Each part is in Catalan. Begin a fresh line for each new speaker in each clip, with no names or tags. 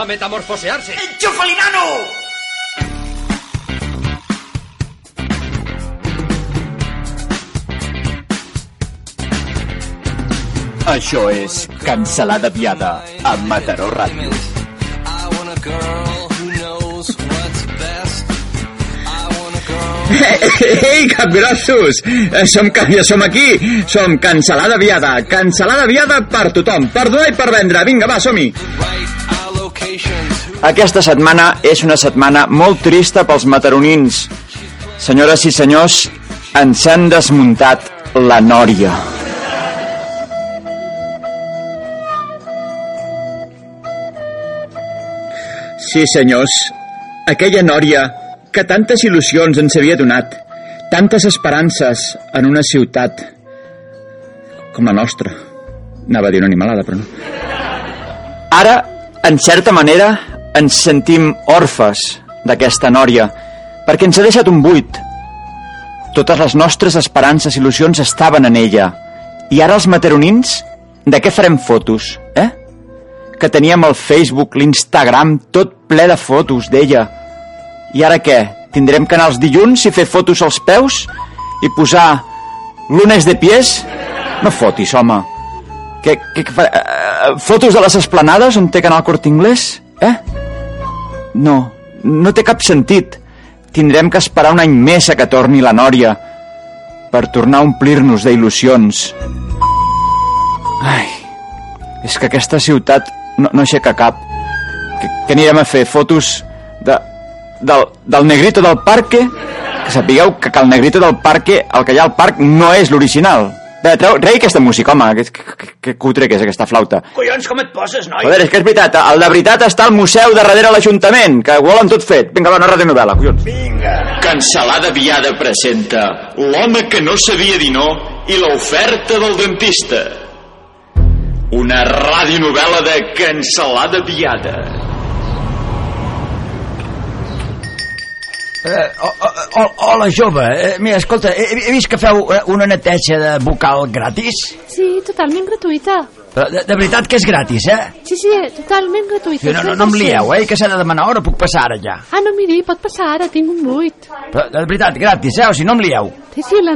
¡A metamorfosearse!
¡Enchufalinano!
Això és Cancelada Viada, a Mataró Ràdio.
Ei, capgrossos! Eh, Som, ca- ja som aquí! Som Cancelada Viada! Cancelada Viada per tothom! Per donar i per vendre! Vinga, va, som-hi!
Aquesta setmana és una setmana molt trista pels mataronins. Senyores i senyors, ens han desmuntat la nòria.
Sí, senyors, aquella nòria que tantes il·lusions ens havia donat, tantes esperances en una ciutat com la nostra. Anava a dir una animalada, però no.
Ara, en certa manera, ens sentim orfes d'aquesta nòria, perquè ens ha deixat un buit. Totes les nostres esperances i il·lusions estaven en ella. I ara els materonins, de què farem fotos, eh? Que teníem el Facebook, l'Instagram, tot ple de fotos d'ella. I ara què? Tindrem que anar els dilluns i fer fotos als peus? I posar lunes de pies? No fotis, home. Què, què, què fa... eh, fotos de les esplanades on té canal cort inglès? Eh? No, no té cap sentit. Tindrem que esperar un any més a que torni la Nòria per tornar a omplir-nos d'il·lusions. Ai, és que aquesta ciutat no, no aixeca cap. Què, què anirem a fer? Fotos de, del, del negrito del parque? Que sapigueu que, que el negrito del parque, el que hi ha al parc, no és l'original. Bé, treu, rei aquesta música, home, que, que, que, que cutre que és aquesta flauta.
Collons, com et poses, noi?
Joder, és que és veritat, el de veritat està al museu de darrere l'Ajuntament, que ho volen tot fet. Vinga, va, una radionovel·la, collons.
Cancelada Viada presenta L'home que no sabia dir no i l'oferta del dentista. Una radionovel·la de Cancelada Viada.
Eh, o- o- o- hola, jove. Eh, mira, escolta, he, he vist que feu eh, una neteja de vocal gratis.
Sí, totalment gratuïta.
Però de, de veritat que és gratis, eh?
Sí, sí, totalment gratuïta.
Sí, no, no, no em lieu, eh? Que s'ha de demanar hora, puc passar ara ja.
Ah, no, miri, pot passar ara, tinc un buit.
Però de veritat, gratis, eh? O si no em lieu.
Sí, sí, la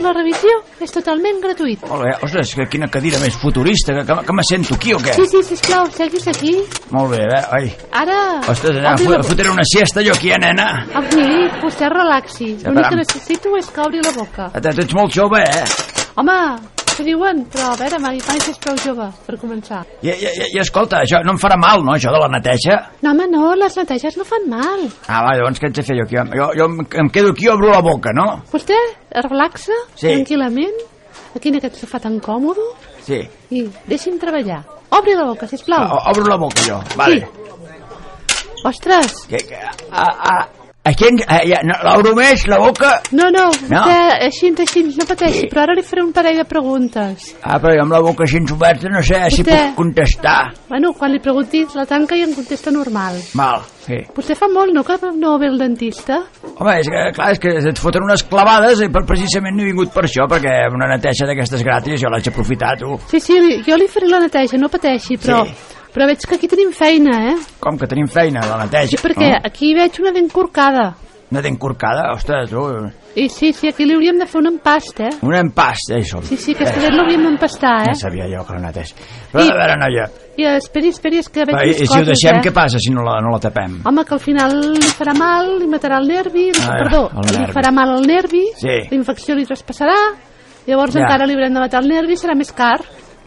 Vale.
i la revisió és totalment gratuïta.
Hola, eh? ostres, que quina cadira més futurista, que, que, que me sento aquí o què?
Sí, sí, sisplau, seguis aquí.
Molt bé, eh? Ai.
Ara...
Ostres, nena,
obri
fo-
la-
fotré una siesta jo aquí, eh, nena?
Ah, miri, vostè relaxi. L'únic que necessito és que obri la boca.
Eh, Tu ets molt jove, eh?
Home, què diuen? Però a veure, Mari Panxa és prou jove, per començar.
I, i, i, i escolta, això no em farà mal, no, això de la neteja?
No, home, no, les neteges no fan mal.
Ah, va, llavors què haig de fer jo aquí? Jo, jo em, em quedo aquí i obro la boca, no?
Vostè es relaxa
Sí.
tranquil·lament aquí en aquest sofà tan còmode
Sí.
i deixi'm treballar. Obri la boca, sisplau.
O, obro la boca jo, Ah, oh, vale.
Sí. Ostres,
Que, que, a, a, així, a, ja, no, l'obro més, la boca...
no, no,
No.
vostè, així, així, no pateixi, però ara li faré un parell de preguntes.
Ah, però jo amb la boca així oberta no sé si
Vostè-
puc contestar.
Bueno, quan li preguntis la tanca i em contesta normal.
Val, sí.
Vostè fa molt, no, que no ve el dentista?
Home, és que, clar, és que et foten unes clavades i per precisament no he vingut per això, perquè una neteja d'aquestes gratis jo l'haig aprofitat, tu.
Sí, sí, jo li faré la neteja, no pateixi, però...
Sí.
Però veig que aquí tenim feina, eh?
Com que tenim feina, la neteja.
Sí, perquè aquí veig una dent corcada.
No? Una dent corcada, ostres, tu.
I sí, sí, aquí li hauríem de fer un empast, eh?
Un empast, eh, som.
Sí, sí, aquesta dent l'hauríem d'empastar,
Ja
eh?
sabia jo que la neteja. Però,
I-
a veure, noia,
I esperi, esperi, és que veig
va,
més
i, i
coses,
si ho deixem,
eh?
què passa si no la, no la tapem?
Home, que al final li farà mal, li matarà el nervi, li,
Ah,
perdó,
el
li
nervi.
farà mal el nervi,
Sí.
la infecció li traspassarà, llavors
Ja.
encara li haurem de matar el nervi, serà més car.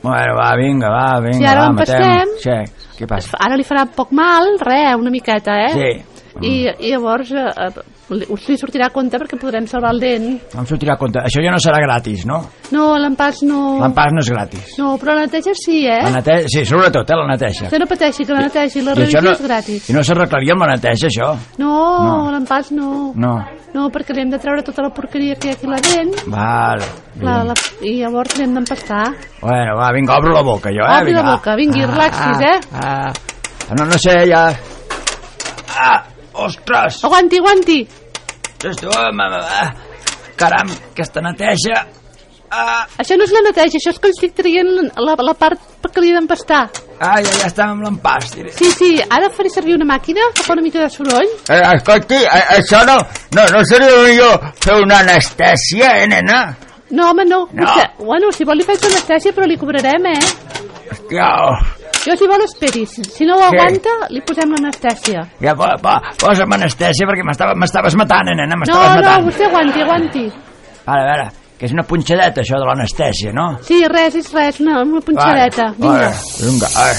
Bueno, va, vinga, va, vinga,
Si ara
va,
ho
matem.
empastem-
Sí, què passa?
Ara li farà poc mal, re, una miqueta, eh?
Sí.
I, i llavors eh, eh, li- us li sortirà a compte perquè podrem salvar el dent.
Em sortirà a compte. Això ja no serà gratis, no?
No, l'empàs no...
L'empast no és gratis.
No, però la neteja sí,
La
Mm. eh?
neteja, sí, sobretot, eh, la neteja.
Vostè no pateixi, que la neteja i la
I això
revisió
no-
és gratis.
I no s'arreglaria amb la neteja, això?
No,
No.
l'empàs no.
No.
No, perquè li hem de treure tota la porqueria que hi ha aquí a la dent
Val.
la, la, i llavors li hem d'empastar.
Bueno, va, vinga, obro la boca, jo, eh?
Obri la
vinga, va.
boca, vingui, relaxis, eh?
Ah, ah. no, no sé, ja... Ah, ostres!
Oh. Aguanti, aguanti.
Ostres, tu, home, va. Caram, aquesta neteja... Ah,
Això no és la neteja, això és que li estic traient la, la part que li he d'empastar.
ah ja, ja estàvem amb l'empast. diré.
Sí, sí, ara faré servir una màquina que fa una mica de soroll.
Eh, escolti, eh, això no, no, no seria millor fer una anestèsia, eh, nena?
No, home, no.
No.
Vostè, bueno, si vol li faig anestèsia, però li cobrarem, eh?
Hòstia, oh,
Jo, si vol, esperi. Si, si no ho aguanta, li posem l'anestèsia.
ja po, po, posa'm anestèsia perquè m'estava- m'estaves matant, eh, nena,
No,
m'estaves
no,
matant.
vostè aguanti, aguanti.
Ara, a veure, que és una punxadeta, això de l'anestèsia, no?
Sí, res, és res, una, una punxadeta. Vinga.
Ara, vinga, ai.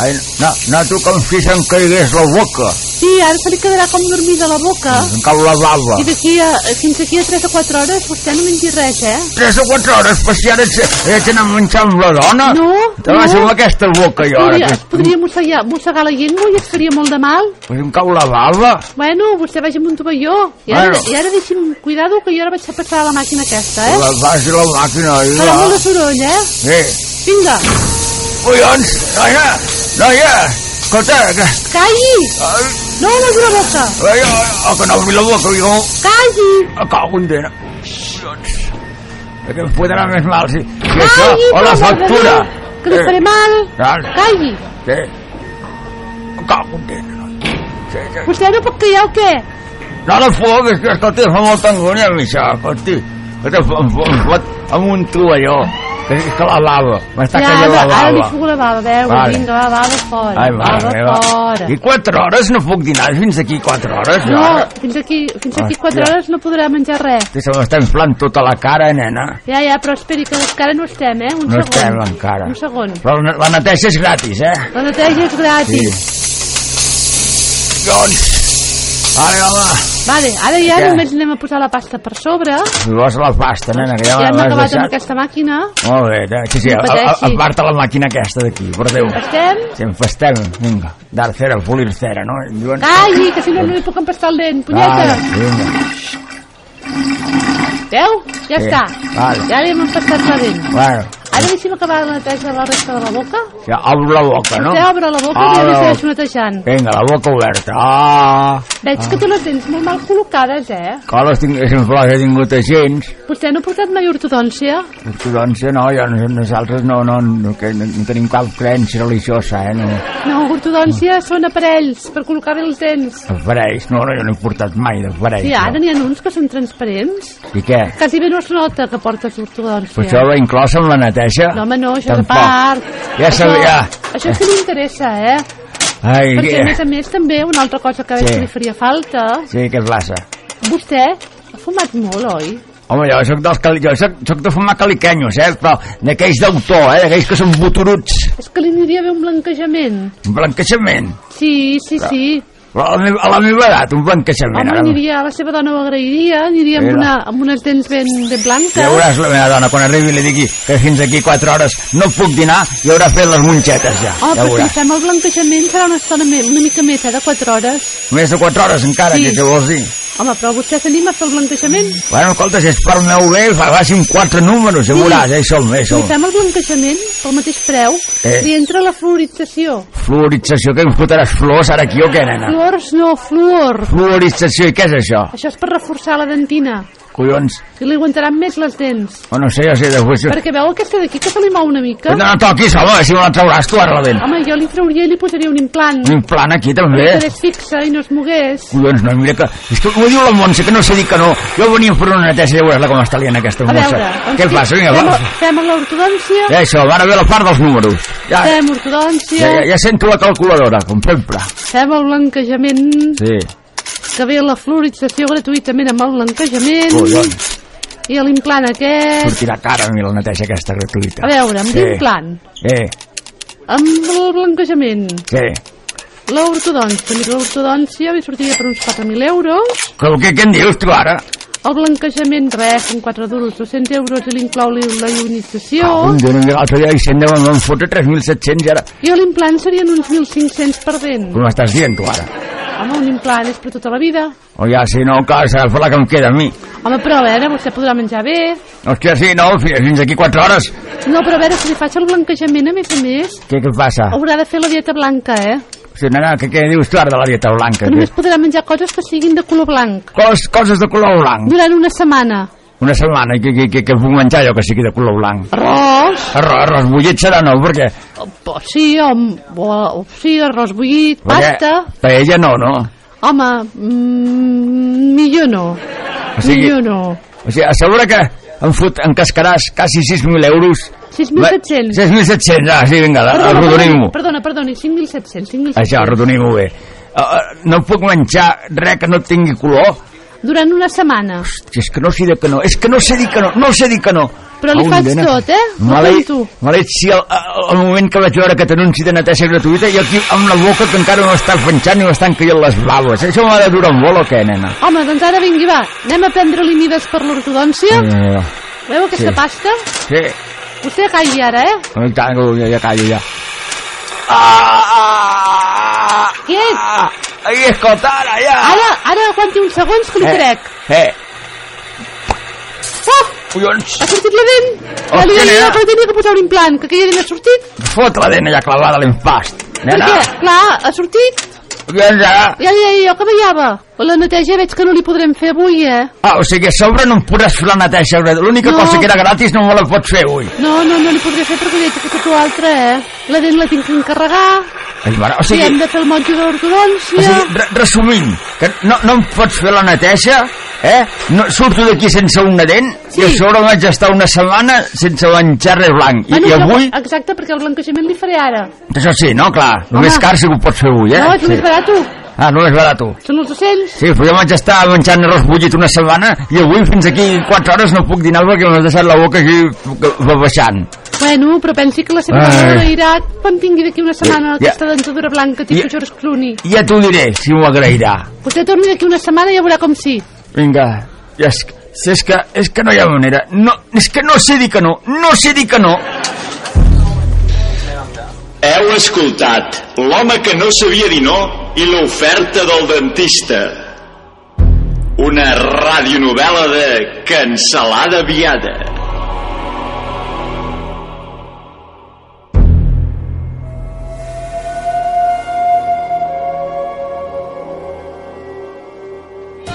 Ai, no, noto com si se'm caigués la boca,
Sí, ara se li quedarà com dormida la boca.
em cau la bava.
Ah. I d'aquí a, fins aquí a 3 o 4 hores vostè no mengi res, eh?
Tres o quatre hores, eh, però si ara ets, ets anar menjant amb la dona.
No,
Te vas
no.
amb aquesta boca, jo, ara.
Podria, es
Que...
podria mossegar, mossegar la llengua i es faria molt de mal.
Pues em cau la bava.
Bueno, vostè vagi amb un tovalló. I ara,
Bueno.
i ara deixi'm cuidar-ho, que jo ara vaig a passar a la màquina aquesta, eh?
La vas i la màquina. I
Farà molt de
la...
soroll, eh?
Sí.
Vinga,
Collons, noia, noia. Escolta, que...
calli!
Ai,
No obri la boca!
ai, ai, oh, que no obri la boca, jo...
Calli!
A cago en dena. Collons. Eh, Que em fotrà més mal, si... si això,
Calli!
o la
per amor de
factura.
Déu, Que li
Eh,
faré mal!
Clar.
Calli!
Sí. A cago en dena, noia. Sí, sí.
Vostè no pot callar o què?
No la foc, és que escolti, fa molta angúnia a mi això, escolti. Escolti, em, em, em fot amb un tovalló, que és que la lava, m'està
ja,
caient
ara,
la
ara li
lava.
fugo la bava, a veure,
Vale.
vinga, va, bava fora,
Ai,
bava
mare meva.
fora.
I quatre hores no puc dinar, fins aquí quatre hores, jo.
No,
ara.
fins aquí, fins aquí
Hòstia.
4 hores no podrà menjar res.
Que se m'està inflant tota la cara, nena.
Ja, ja, però esperi, que encara no estem, eh? Un
No
segon.
estem encara.
Un segon.
Però la, la neteja és gratis, eh?
La neteja és gratis.
Doncs... Ai, home,
Vale, ara ja
Què? Ah,
només anem a posar la pasta per sobre.
si vols la pasta, nena, que ja,
Ja hem
m'has
acabat amb
deixat.
aquesta màquina.
Molt bé, eh, sí, sí,
No
a- a-
pateixi.
aparta la màquina aquesta d'aquí, per Déu.
Estem...
Si empastem, vinga, dar cera, pulir cera, no? Diuen...
Calli, que si no no li puc empastar el dent,
Vale,
punyeta.
vinga.
Veu? Ja
Sí,
està.
vale.
Ja li hem empastat la dent.
Bueno,
Ara deixi'm acabar la neteja de la resta de la boca.
ja obro la boca, no? Ah,
Vostè obre la boca i
Obre
jo li
la
segueixo
boca.
netejant.
Vinga, la boca oberta. Ah,
Veig que tu les tens molt mal col·locades, eh?
que les tinc, és un flor que he tingut gens.
Vostè no ha portat mai ortodòncia?
Doncs no, jo, nosaltres no, no, no, que no, no tenim cap creença religiosa, eh? No,
No, ortodòncia són aparells per col·locar bé els dents.
aparells, no, no, jo no he portat mai d'aparells.
Sí, ara
no.
n'hi ha uns que són transparents.
I què?
Quasi bé no es nota que portes
Però
ortodòncia.
això va inclòs amb la neteja?
No, home, no, això és a
Ah, Tampoc.
part.
Ja sabia.
Això, això sí que m'interessa, eh?
Ai,
Perquè, a més
què?
a més, també una altra cosa que veig
Sí.
que li faria falta...
Sí, què passa?
Vostè ha fumat molt, oi?
Home, jo soc, dels cali... jo soc, soc de fumar caliquenyos, eh? Però d'aquells d'autor, eh? D'aquells que són boturuts.
És que li aniria bé un blanquejament.
Un blanquejament.
Sí, sí, sí.
Però a la, meva, a la meva edat, un blanquejament.
Home,
Ara,
aniria, la seva dona ho agrairia, aniria amb,
Mira.
una, amb unes dents ben, ben
ja
blanques.
veuràs la meva dona, quan arribi i li digui que fins aquí 4 hores no puc dinar i haurà fet les monxetes ja.
Oh,
ja
però si
veuràs.
fem el blanquejament serà una estona me- una mica més, eh, de 4 hores.
Més de 4 hores encara,
Sí.
que què vols dir?
Home, però vostè s'anima a fer el blanquejament?
Bueno, escolta, si és per meu bé, fa facin 4 números, ja
Sí.
veuràs, eh? Som, eh?
Si
Som.
fem el blanquejament, pel mateix preu,
Eh.
li entra la fluorització.
Fluorització, que em fotràs flors ara aquí o què, nena?
Fluors no, fluor.
Fluorització, i què és això?
Això és per reforçar la dentina.
Collons,
Que li aguantaran més les dents.
o no sé, jo sé, després...
Perquè veu aquesta d'aquí que se li mou una mica?
Que no la toquis, home, si me la trauràs tu ara la dent.
Home, jo li trauria i li posaria un implant.
Un plan aquí també.
Que quedés fixa i no es mogués.
Collons, no, mira que... És que ho diu la Montse, que no sé dir que no. Jo venia per una neteja, ja veuràs com està liant aquesta
A
Montse.
veure... doncs
Què passa? Vinga,
fem,
va.
Fem l'ortodòncia,
Ja, això, va ara ve la part dels números. Ja,
fem
ja,
ortodòncia,
eh. ja, ja sento la calculadora, com sempre.
fem el blanquejament,
Sí,
que ve la florització gratuïtament amb el blanquejament,
collons,
i l'implant aquest...
sortirà cara a mi la neteja aquesta gratuïta.
A veure, amb
sí.
l'implant,
Eh,
amb el blanquejament,
sí.
l'ortodòncia, mira, l'ortodòncia li sortiria per uns 4.000 euros,
Però què, què en dius tu ara?
el blanquejament, res, són 4 duros, 200 euros, i l'inclou li- la ionització,
Ah, un dia, un dia, l'altre dia, i se'n deuen van fotre 3.700 i ara...
i l'implant serien uns 1.500 per dent.
Com m'estàs dient tu ara?
Home, un implant és per tota la vida.
O ja, si no, clar, serà la que em queda a mi.
Home, però a veure, vostè podrà menjar bé.
Hòstia, sí, no, fi- fins aquí 4 hores.
No, però a veure, si li faig el blanquejament, a més a més,
Què, què passa?
haurà de fer la dieta blanca, eh?
Sí, nena, què, què dius tu ara de la dieta blanca?
Que només
Que...
podrà menjar coses que siguin de color blanc
Cos, coses de color blanc.
durant una setmana.
una setmana i que, que, que, que puc menjar allò que sigui de color blanc.
Arròs?
Arròs, arròs bullit serà no, perquè...
O, sí, o, o, o sí, arròs bullit,
perquè
pasta...
Paella no, no.
Home, mm, millor no.
O sigui-
Millor no.
O sigui, assegura que em fot, em cascaràs quasi 6.000 euros.
6.700.
6.700, ah, sí, vinga, arrodonim-ho.
perdona, perdona, 5.700, 5.700.
Això, arrodonim-ho bé. Uh, uh, no puc menjar res que no tingui color.
Durant una setmana.
Si és que no sé dir que no, és que no sé dir que no, no sé dir que no.
Però li
Au,
faig
nena,
tot, eh? Ho
Maleït,
sento.
maleït si el, el, moment que vaig veure que t'anunci de neteja gratuïta i aquí amb la boca que encara no està fenxant i no estan caient les blaves. Això m'ha de durar molt o què, nena?
Home, doncs ara vingui, va. Anem a prendre-li mides per l'ortodòncia.
Eh,
Veu aquesta
sí.
pasta?
Eh, sí,
Vostè calli ara, eh?
i tant, ja, ja callo, ja.
Quiet!
Ah, ahí escoltar, allà!
Ara, ara aguanti uns segons que li crec.
Eh,
Oh!
collons,
Ha sortit la dent!
Oh,
Ja li
què
vaig
li
dir
ha?
que li tenia que posar un implant, que aquella dent ha sortit.
fot la dent allà clavada a l'impast.
Per
Nena,
què? Clar, ha sortit.
doncs ara...
Ja li deia jo que veiava. La neteja veig que no li podrem fer avui, eh?
Ah, o sigui, a sobre no em podràs fer la neteja, Alfredo. l'única
No.
cosa que era gratis no me la pots fer avui.
No, no, no li podré fer perquè li haig de fer tu altra, eh? La dent la tinc que encarregar,
Ai, mare, o
li
sigui,
hem de fer el monjo de
o
l'ortodòncia...
sigui re resumint, que no, no em pots fer la neteja, eh? No, surto d'aquí sense una dent
Sí.
i a sobre vaig estar una setmana sense menjar res blanc. I, i
però-
avui,
Exacte, perquè el blanquejament li faré ara.
això sí, no, clar, el
Home.
més car sí que ho pots fer avui, eh?
No, és
sí.
més barat,
Ah, només barat.
són els ocells.
Sí, però jo vaig estar menjant arròs bullit una setmana i avui fins aquí 4 hores no puc dinar perquè m'has deixat la boca aquí baixant.
Bueno, però pensi que la seva
Ai.
dona veirà quan tingui d'aquí una setmana
Ja.
aquesta dentadura blanca tipus
Ja.
George Clooney.
Ja t'ho diré, si m'ho agrairà.
Vostè torni d'aquí una setmana i ja veurà com sí.
Vinga, ja és, si és, que, és que no hi ha manera. No, és que no sé dir que no, no sé dir que no.
Heu escoltat l'home que no sabia dir no i l'oferta del dentista. Una radionovel·la de cancel·lada viada.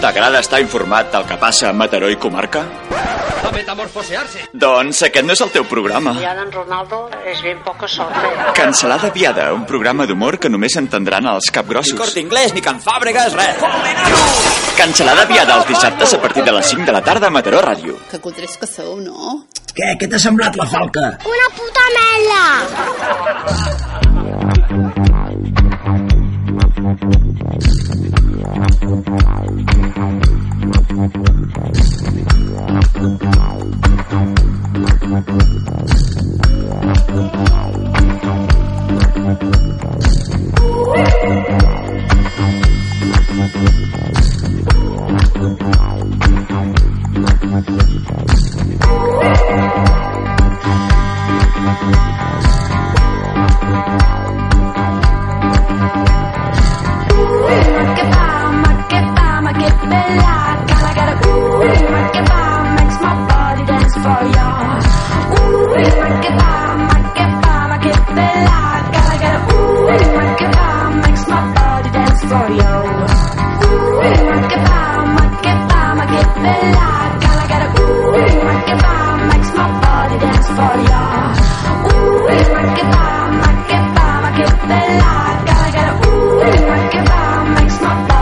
T'agrada estar informat del que passa a Mataró i comarca?
A metamorfosearse.
Doncs aquest no és el teu programa.
Ya Dan Ronaldo es bien poca suerte.
Cancelada Viada, un programa d'humor que només entendran els capgrossos. Ni Corte Inglés, ni Can Fàbregas, res. Cancelada Viada els dissabtes a partir de les 5 de la tarda a Mataró Ràdio.
Que cutres que sou, no?
Què? Què t'ha semblat la falca?
Una puta mela!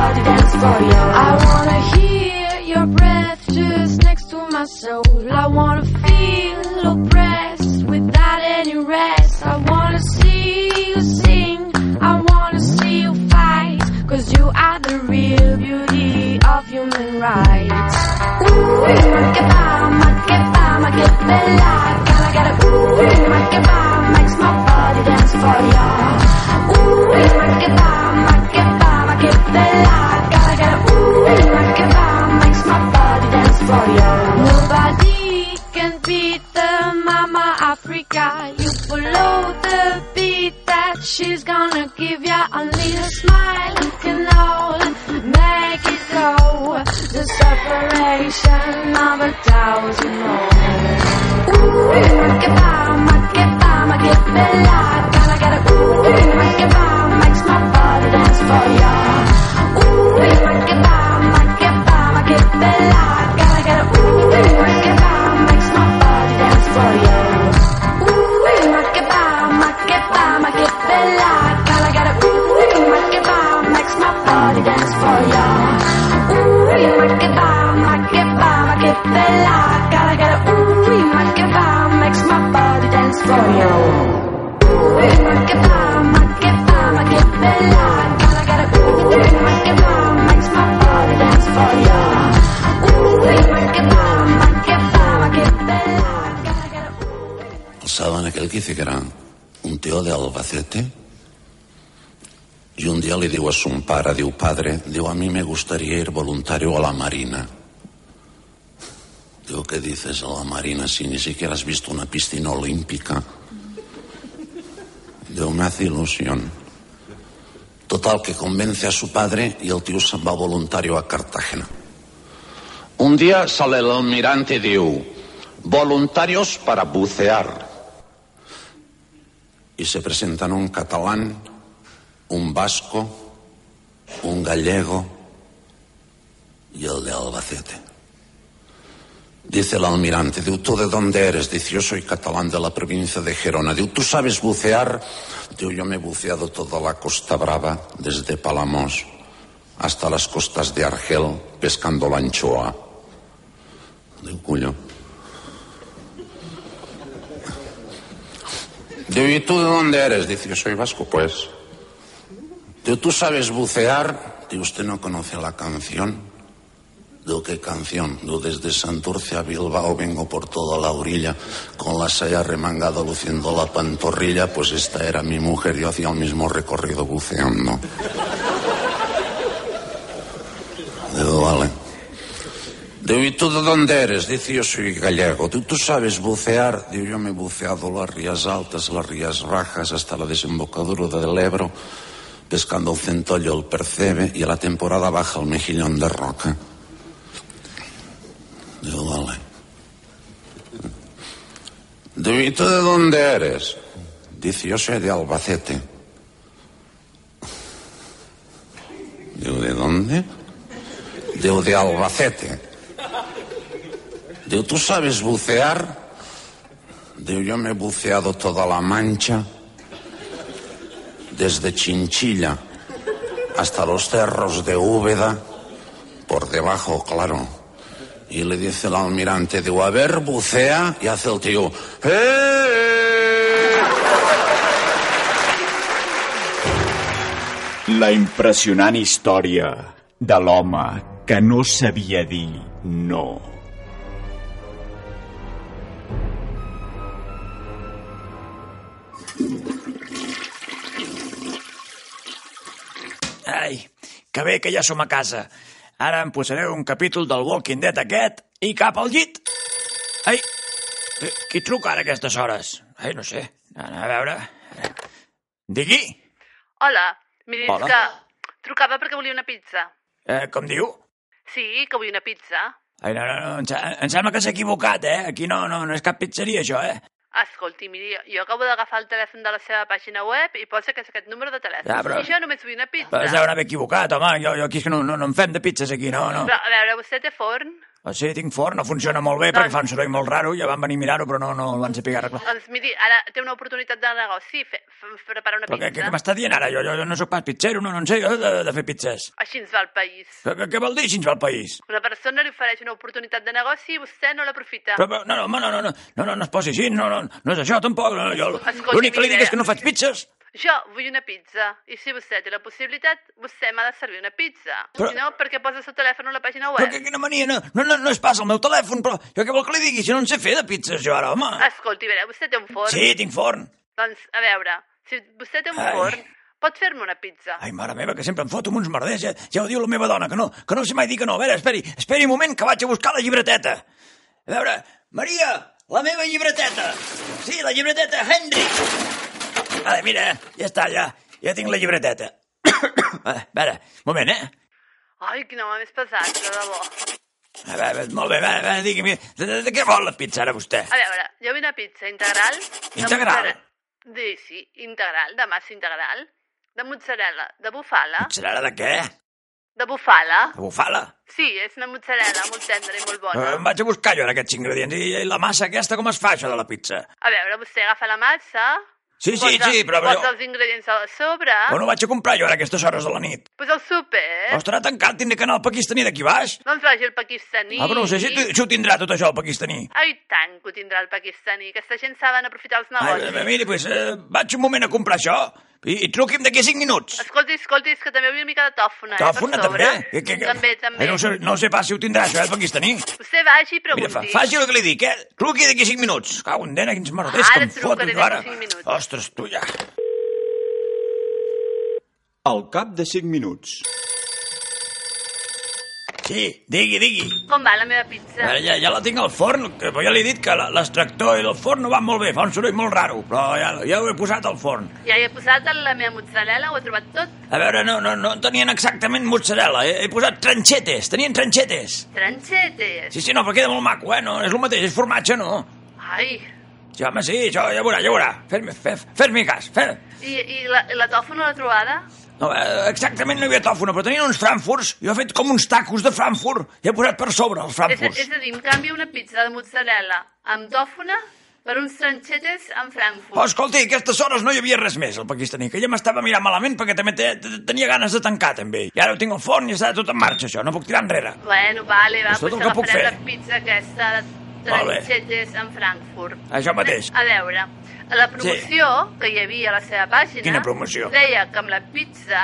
I wanna hear your breath just next to my soul. I wanna feel oppressed without any rest. I wanna see you sing. I wanna see you fight. Cause you are the real beauty of human rights. Ooh, ma che fa, ma che fa, ma che bella. Gotta, gotta, ooh, ma che fa, makes my body dance for ya. Ooh, ma che fa, ma che fa, ma che bella. Gotta, gotta, ooh, ma che fa, makes my body dance for ya. Nobody can beat the Mama Africa. You follow the beat that she's gonna give ya. Only a smile can all make it go. The separation of a thousand more. Ooh,
aquell que hi ficarà un tio d'Albacete i un dia li diu a son pare, diu, padre, diu, a mi me gustaría ir voluntario a la Marina. Digo, ¿qué dices a la Marina si ni siquiera has visto una piscina olímpica? Digo, me hace ilusión. Total, que convence a su padre y el tío se va voluntario a Cartagena. Un día sale el almirante y diu, voluntarios para bucear. Y se presentan un catalán, un vasco, un gallego y el de Albacete. Dice el almirante, digo, ¿tú de dónde eres? Dice, yo soy catalán de la provincia de Gerona. Digo, ¿tú sabes bucear? Digo, yo me he buceado toda la Costa Brava, desde Palamos hasta las costas de Argel, pescando la anchoa. Digo, cuño. Digo, ¿y tú de dónde eres? Dice, yo soy vasco, pues. Digo, ¿tú sabes bucear? Digo, ¿usted no conoce la canción? Digo, ¿qué canción? Digo, desde Santurce a Bilbao vengo por toda la orilla, con la saya remangada, luciendo la pantorrilla, pues esta era mi mujer, yo hacía el mismo recorrido buceando. Digo, vale. Digo, ¿y tú de dónde eres? Dice, yo soy gallego. Digo, ¿tú sabes bucear? Digo, yo me he buceado las rías altas, las rías rajas, hasta la desembocadura del Ebro, pescando el centollo, el percebe, y a la temporada baja el mejillón de roca. Digo, vale. Digo, ¿y tú de dónde eres? Dice, yo soy de Albacete. Digo, ¿de dónde? Digo, de Albacete. Digo, ¿tú sabes bucear? Digo, yo me he buceado toda la mancha, desde Chinchilla hasta los cerros de Úbeda, por debajo, claro. Y le dice el almirante, digo, a ver, bucea, y hace el tío, ¡eh!
La impressionant història de l'home que no sabia dir no.
Ai, que bé que ja som a casa. Ara em posaré un capítol del Walking Dead aquest i cap al llit. Ai, eh, qui truca ara a aquestes hores? Ai, no sé. Anar a veure... Digui,
Hola, miri, és
Hola.
que trucava perquè volia una pizza.
eh, com diu?
Sí, que vull una pizza.
Ai, no, no, no, em, se- em sembla que s'ha equivocat, eh? Aquí no, no, no és cap pizzeria, això, eh?
Escolti, miri, jo acabo d'agafar el telèfon de la seva pàgina web i posa que és aquest número de telèfon.
Ja, però-
I jo només vull una pizza.
Però es deu haver equivocat, home. Jo, jo aquí és que no, no, no en fem de pizzas, aquí, no, no.
Però, a veure, vostè té forn?
O sigui, tinc forn, no funciona molt bé perquè fa un soroll molt raro, ja van venir a mirar-ho, però no, no el van saber arreglar.
Doncs miri, ara té una oportunitat de negoci, fe, fe, preparar una
Però què,
pizza.
què, què m'està dient ara? Jo, jo, jo no sóc pas pizzero, no, no en sé jo de, de fer pizzas.
Així ens va el país.
Què, què, què vol dir, si ens va el país?
Una persona li ofereix una oportunitat de negoci i vostè no l'aprofita.
Però, però, no, no, home, no, no, no, no, no, no es posi així, no, no, no és això tampoc. No, jo,
Escolti,
l'únic que li dic
mira.
és que no faig pizzas.
Jo vull una pizza, i si vostè té la possibilitat, vostè m'ha de servir una pizza.
Però-
Si no, per què posa el seu telèfon a la pàgina
Però
web?
que, quina mania, no, no, no, no és pas el meu telèfon, però jo què vol que li digui si no en sé fer de pizzas jo ara, home?
Escolti, a veure, vostè té un forn?
Sí, tinc forn.
Doncs, a veure, si vostè té un
Ai.
forn, pot fer-me una pizza.
Ai, mare meva, que sempre em foto amb uns merders. Ja, ja ho diu la meva dona, que no, que no sé mai dir que no. A veure, esperi, esperi un moment que vaig a buscar la llibreteta. A veure, Maria, la meva llibreteta. Sí, la llibreteta Henry. A veure, mira, eh, ja està, ja. Ja tinc la llibreteta. a veure, un moment, eh?
Ai, quin home més pesat, de debò.
A veure, molt bé, a veure, a veure digui'm, de, de, de, què vol la pizza ara vostè?
A veure, jo vull una pizza integral... de
Integral?
mozzarella- Sí, sí, integral, de massa integral, de mozzarella, de bufala...
Serà de què?
De bufala.
De bufala?
Sí, és una mozzarella molt tendra i molt bona.
Eh, Em vaig a buscar jo en aquests ingredients. I, I la massa aquesta, com es fa, això de la pizza?
A veure, vostè agafa la massa...
Sí, sí,
posa,
sí, però-
Posa els ingredients a sobre...
On ho vaig a comprar jo ara, a aquestes hores de la nit?
Pues el súper.
Però estarà tancat, tindré que anar al pakistaní d'aquí baix.
Doncs vagi al pakistaní.
Ah, però no sé si, si ho tindrà tot això, el pakistaní.
Ai, tant que ho tindrà el pakistaní. Aquesta gent saben aprofitar els
Ai,
negocis.
eh, miri, doncs, eh, vaig un moment a comprar això. I, i truqui'm d'aquí 5 minuts.
Escolti, escolti, és que també vull una mica de tòfona,
Telefona
eh, per
també.
sobre.
Que, que, que...
També, també.
Eh, no, sé, no sé pas si ho tindrà, això, eh, el pakistaní.
Vostè vagi i pregunti.
Mira, fa, faci el que li dic, eh? Truqui d'aquí 5 minuts. Cau en dena, quins merders
Ara
que em
trucaré
foten,
d'aquí
jo, ara.
cinc minuts.
Ostres, tu ja.
Al cap de 5 minuts.
Sí, digui, digui.
Com va la meva pizza?
Ara ja, ja la tinc al forn, que ja li he dit que la- l'extractor i el forn no van molt bé, fa un soroll molt raro, però ja, ja ho he posat al forn.
Ja hi he posat la meva mozzarella, ho he trobat tot.
A veure, no, no, no en tenien exactament mozzarella, he, he posat tranxetes, tenien tranxetes.
Tranxetes.
Sí, sí, no, però queda molt maco, eh? No, és el mateix, és formatge, no?
Ai,
Sí, home, sí, això ja ho veurà, ja ho veurà. Fes-me fes, fes cas, fes...
i, i la, i la tòfona la trobada?
No, eh, exactament no hi havia tòfona, però tenien uns frankfurts, jo he fet com uns tacos de frankfurt, i he posat per sobre els
És,
frankfurts.
és a dir, em canvio una pizza de mozzarella amb tòfona per uns tranxetes amb
Oh,
Frankfurt.
escolti, a aquestes hores no hi havia res més, el pakistaní, que ja m'estava mirant malament perquè també te, te, tenia ganes de tancar, també. I ara ho tinc al forn i està tot en marxa, això, no puc tirar enrere.
Bueno, vale, va,
És tot
doncs
el que puc
agafarem
fer.
la pizza aquesta de
Molt bé.
tranxetes amb Frankfurt.
Això mateix.
A veure, a la promoció que hi havia a la seva pàgina...
Quina promoció?
Deia que amb la pizza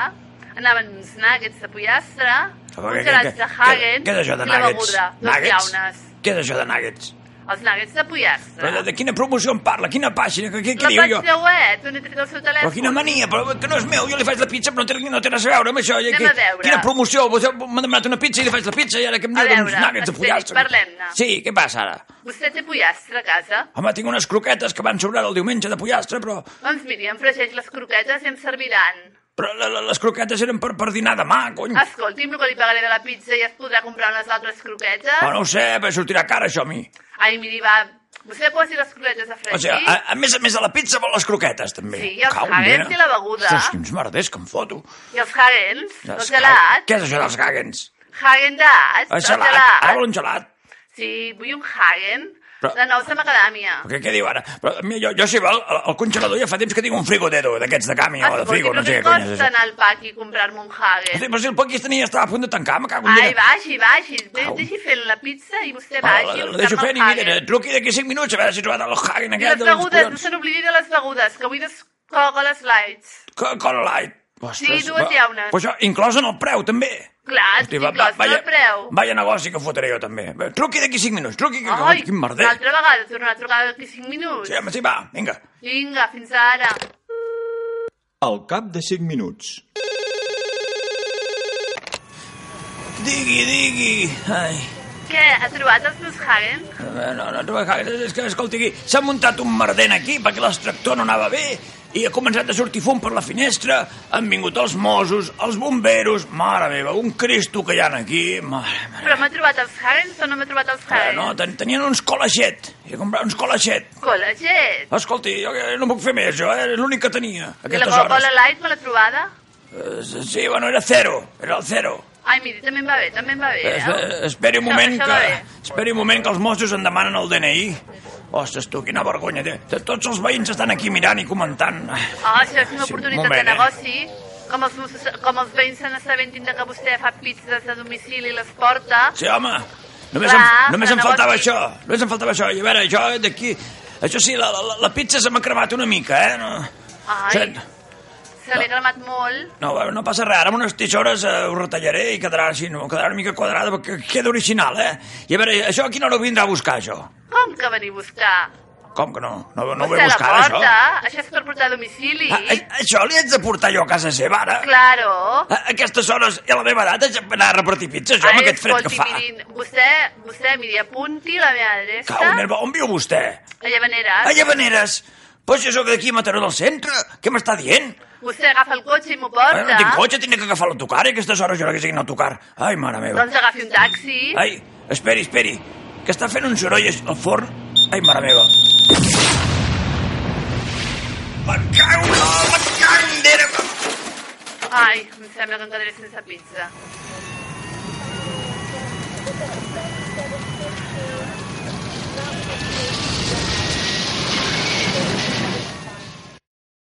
anaven uns nuggets de pollastre,
Però
uns
què-
grans
què-
de Hagen
què és això de
i la
nuggets?
beguda, dos
Nuggets?
llaunes.
Què és això de nuggets?
Els nuggets de pollastre.
Però de, de quina promoció em parla? Quina pàgina? Què, què,
la eh?
què diu jo?
pàgina web, on he tret el seu telèfon.
Però quina mania, però que no és meu, jo li faig la pizza, però no té, no té res a veure amb això. I
Anem
qui-
a veure.
Quina promoció? Vostè M'ha demanat una pizza i li faig la pizza i ara que em
A
diu d'uns
veure,
nuggets de
esperi,
pollastre.
parlem-ne.
Sí, què passa ara?
Vostè té pollastre a casa?
Home, tinc unes croquetes que van sobrar el diumenge de pollastre, però
Doncs miri, em fregeix les croquetes i em serviran.
Però la- la- les croquetes eren per, per dinar demà, cony.
Escolti'm, el que li pagaré de la pizza i es podrà comprar unes altres croquetes?
Però no ho sé, però sortirà car, això, a mi.
Ai, miri, va, vostè posi les croquetes a
O ah,
fregir?
sigui, a, a més a més de la pizza vol les croquetes, també.
Sí, i els
Cau en
Hagen
dena.
té la beguda.
Ostres, quins merders que em foto.
I els Hagens? El
Els Hagen-
gelat?
Què és això dels Hagens?
Hagen d'Ats?
El
El
gelat. Ara
gelat?
vol un gelat.
Sí, vull un Hagen
Però-
de nous de macadàmia.
Però Què, què diu ara? Però, mira, jo, jo si vol, al al congelador ja fa temps que tinc un frigodero d'aquests de cami
Ah,
o de frigo, no sé
què
què cony és
costa
això.
anar al PAC i comprar-me un Hagen?
Hosti, Però si el pakistaní ja estava a punt de tancar, me cago en
Ai,
dena.
vagi, vagi, de- deixi fent la pizza i vostè
Però
vagi.
la-
a
la deixo
buscar-me
fent
el
i mira,
Hagen.
truqui d'aquí 5 minuts a veure si he trobat el Hagen
I les
aquest dels
begudes, no
collons.
se n'oblidi de les begudes, que avui descoga les lights.
Co- Cola light. Ostres,
dues
va-
llaunes.
Però això, inclòs en el preu, també.
Clar,
Hosti,
Hosti,
va-
va,
va- vaya-
el preu.
Vaya negoci que fotré jo, també. Bé, Truqui d'aquí 5 minuts, truqui, que,
Ai,
quin
una
merder.
altra vegada, tornar a trucar d'aquí 5 minuts.
Sí, home, sí, va, vinga.
Vinga, fins ara.
Al cap de 5 minuts.
Digui, digui. Ai,
Què, ha trobat els meus Hagen?
eh, no, no, no, és que, escolti, aquí s'ha muntat un merder aquí perquè l'extractor no anava bé i ha començat a sortir fum per la finestra, han vingut els Mossos, els bomberos, mare meva, un Cristo que hi ha aquí, mare meva.
Però m'ha trobat els Hagen o no m'ha trobat els
Eh,
Hagen?
No, ten- tenien uns colaixet, he comprat uns colaixet.
Col·leget.
Escolti, jo jo no puc fer més, jo, eh? és l'únic que tenia,
I la
aquestes hores.
Coca-Cola Light me l'ha trobada?
Eh, sí, bueno, era zero, era el zero.
Ai, miri, també em va bé, també em va bé.
Eh,
Eh?
eh, esperi un
Això-
moment
això
que...
va bé.
Esperi un moment que els Mossos en demanen el DNI. Ostres, tu, quina vergonya. té. T- Tots els veïns estan aquí mirant i comentant.
Oh, això és una
Sí,
oportunitat
moment,
de
eh?
negoci. Com els, meus- com els veïns se n'assabentin de que vostè fa pizzas a domicili i les porta.
Sí, home, només,
Clar,
em, només
de
em faltava
negoci.
això. Només em faltava això. I a veure, jo d'aquí... Això sí, la, la, la pizza se m'ha cremat una mica, eh? No,
Ai,
Això-
se l'he cremat molt.
no, no passa res. Ara amb unes tisores eh, ho retallaré i quedarà així, no? Quedarà una mica quadrada, perquè queda original, eh? I a veure, això a quina hora ho vindrà a buscar, això?
Com que venir a buscar?
Com que no? No, no ho
Vostè
ve a buscar,
la
ara,
porta,
això?
això és per portar a domicili.
Ah, a- això li haig de portar jo a casa seva, ara?
Claro.
A aquestes hores i a la meva edat haig d'anar a repartir pizzas, jo,
Ai,
amb aquest fred que
escolti,
fa.
Mirin, vostè, vostè, miri, apunti la meva adreça.
Cau, nerva, on viu vostè?
A Llevaneres.
A Llevaneres. Però si sóc d'aquí a Mataró del centre, què m'està dient?
Vostè agafa el cotxe i m'ho
Ara
porta.
no tinc cotxe, tinc que agafar l'autocar i a aquestes hores jo no que siguin autocar. Ai, mare meva.
Doncs agafi un taxi.
Ai, esperi, esperi, que està fent un soroll al forn. Ai, mare meva. Me cago en la candera.
Ai, em sembla que em quedaré sense pizza.